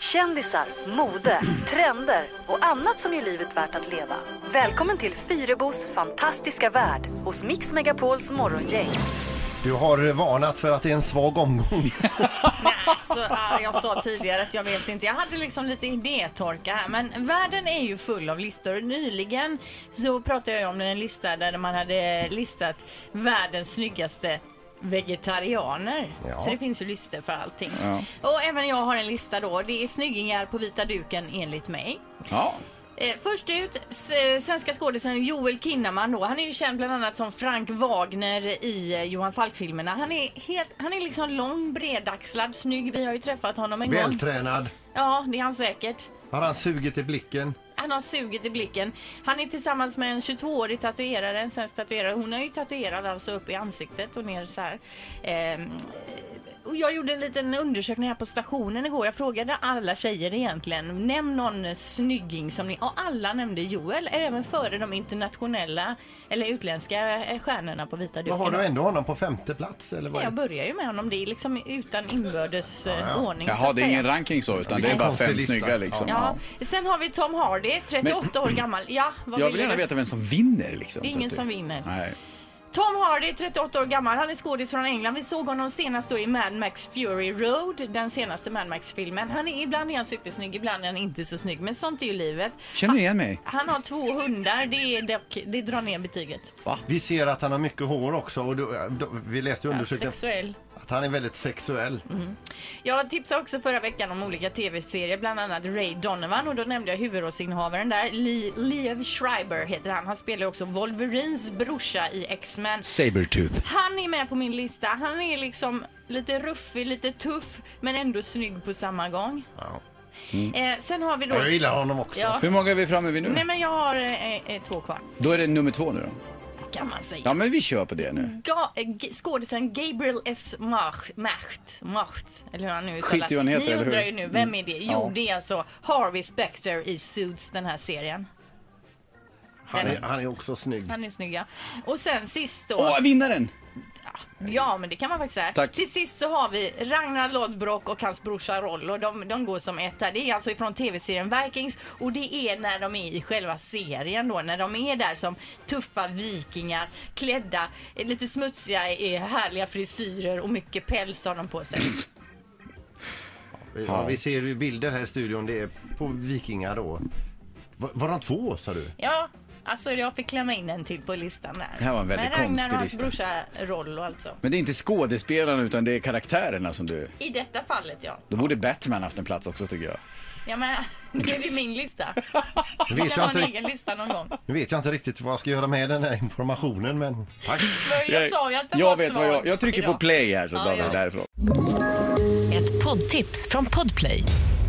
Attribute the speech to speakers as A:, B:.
A: Kändisar, mode, trender och annat som gör livet värt att leva. Välkommen till Fyrebos fantastiska värld hos Mix Megapols morgongäng.
B: Du har varnat för att det är en svag omgång.
C: Alltså, ah, jag sa tidigare att jag vet inte. Jag hade liksom lite idétorka här. Men världen är ju full av listor. Nyligen så pratade jag om en lista där man hade listat världens snyggaste vegetarianer.
B: Ja.
C: Så det finns ju listor för allting. Och även jag har en lista då. Det är snyggingar på vita duken enligt mig.
D: Ja.
C: Eh, först ut, s- eh, svenska skådisen Joel Kinnaman då. Han är ju känd bland annat som Frank Wagner i eh, Johan Falk-filmerna. Han är, helt, han är liksom lång, bredaxlad, snygg. Vi har ju träffat honom en gång.
B: Vältränad.
C: Ja, det är han säkert.
B: Har han sugit i blicken?
C: Han har suget i blicken. Han är tillsammans med en 22-årig tatuerare, en svensk tatuerare. Hon är ju tatuerad alltså upp i ansiktet och ner så här. Ehm, och jag gjorde en liten undersökning här på stationen igår. Jag frågade alla tjejer egentligen. Nämn någon snygging som ni... Och alla nämnde Joel, även före de internationella eller utländska eh, stjärnorna på vita
B: Vad
C: duken.
B: har du ändå honom på femte plats? Eller vad?
C: Jag
B: är-
C: börjar ju med honom. Det är liksom utan inbördes eh, ordning så
D: Jaha,
C: att
D: det är ingen
C: säga.
D: ranking så, utan
B: Det är
D: det är
B: en
D: bara
B: konstig
D: fem
B: lista.
D: snygga liksom.
C: Ja.
D: Ja.
C: Sen har vi Tom Hardy, 38 år gammal. Ja, vad
D: Jag
C: ville
D: vill gärna
C: du?
D: veta vem som vinner liksom.
C: Det är
D: så
C: ingen
D: att
C: som vinner.
D: Nej.
C: Tom Hardy, 38 år gammal, han är skådis från England. Vi såg honom senast då i Mad Max Fury Road, den senaste Mad Max-filmen. Han är ibland är han supersnygg, ibland är han inte så snygg, men sånt är ju livet.
D: Känner ni igen mig?
C: Han har två hundar, det, är dock, det drar ner betyget.
B: Vi ser att han har mycket hår också. Och då, då, vi läste i
C: Ja,
B: undersökningen
C: sexuell.
B: att han är väldigt sexuell.
C: Jag tipsade också förra veckan om olika tv-serier, bland annat Ray Donovan och då nämnde jag huvudrollsinnehavaren där. Lee, Liev Schreiber heter han. Han spelar också Wolverines brorsa i X-Men.
D: Sabertooth.
C: Han är med på min lista. Han är liksom lite ruffig, lite tuff, men ändå snygg på samma gång.
B: Ja.
C: Eh, sen har vi då...
B: Jag gillar honom också.
C: Ja.
D: Hur många är vi framme vid nu?
C: Nej, men jag har eh, eh, två kvar,
D: Då är det nummer två nu då.
C: kan man säga.
D: Ja, men vi kör på det nu.
C: Ga- eh, g- skådisen Gabriel S. Mach, Macht, Macht, eller hur han nu
D: Skit i vad han heter,
C: Ni
D: eller
C: undrar
D: hur? Mm.
C: ju nu, vem är det? Jo,
D: Ja.
C: det är alltså Harvey Specter i Suits, den här serien.
B: Han,
C: Den-
B: är, han är också snygg.
C: Han är snygga. Och sen sist då.
D: Åh, vinnaren!
C: Ja, men det kan man faktiskt säga.
D: Tack.
C: Till sist så har vi Ragnar Lodbrok och hans brorsa Rollo. De, de går som ett här. Det är alltså ifrån tv-serien Vikings och det är när de är i själva serien då, när de är där som tuffa vikingar, klädda, eh, lite smutsiga, i härliga frisyrer och mycket päls har de på sig.
B: Ja, vi ser ju bilder här i studion. Det är på vikingar då. Var, var de två sa du?
C: Ja, alltså jag fick klämma in en till på listan där.
D: Det här var en väldigt
C: Men Ragnar
D: konstig
C: och hans
D: lista.
C: brorsa Rollo alltså.
D: Men det är inte skådespelarna utan det är karaktärerna som du...
C: I detta fallet ja.
D: Då borde Batman haft en plats också tycker jag.
C: Ja men nu är det min lista.
B: Nu
C: Jag
B: vet
C: kan
B: jag
C: ha en
B: inte,
C: egen lista någon gång.
B: nu vet jag inte riktigt vad jag ska göra med den här informationen men tack.
C: Men Jag sa ju att den var
D: jag vet vad jag...
C: svag
D: Jag trycker
C: idag.
D: på play här så
C: Ja,
D: drar vi
C: ja.
D: därifrån.
E: Ett poddtips från Podplay.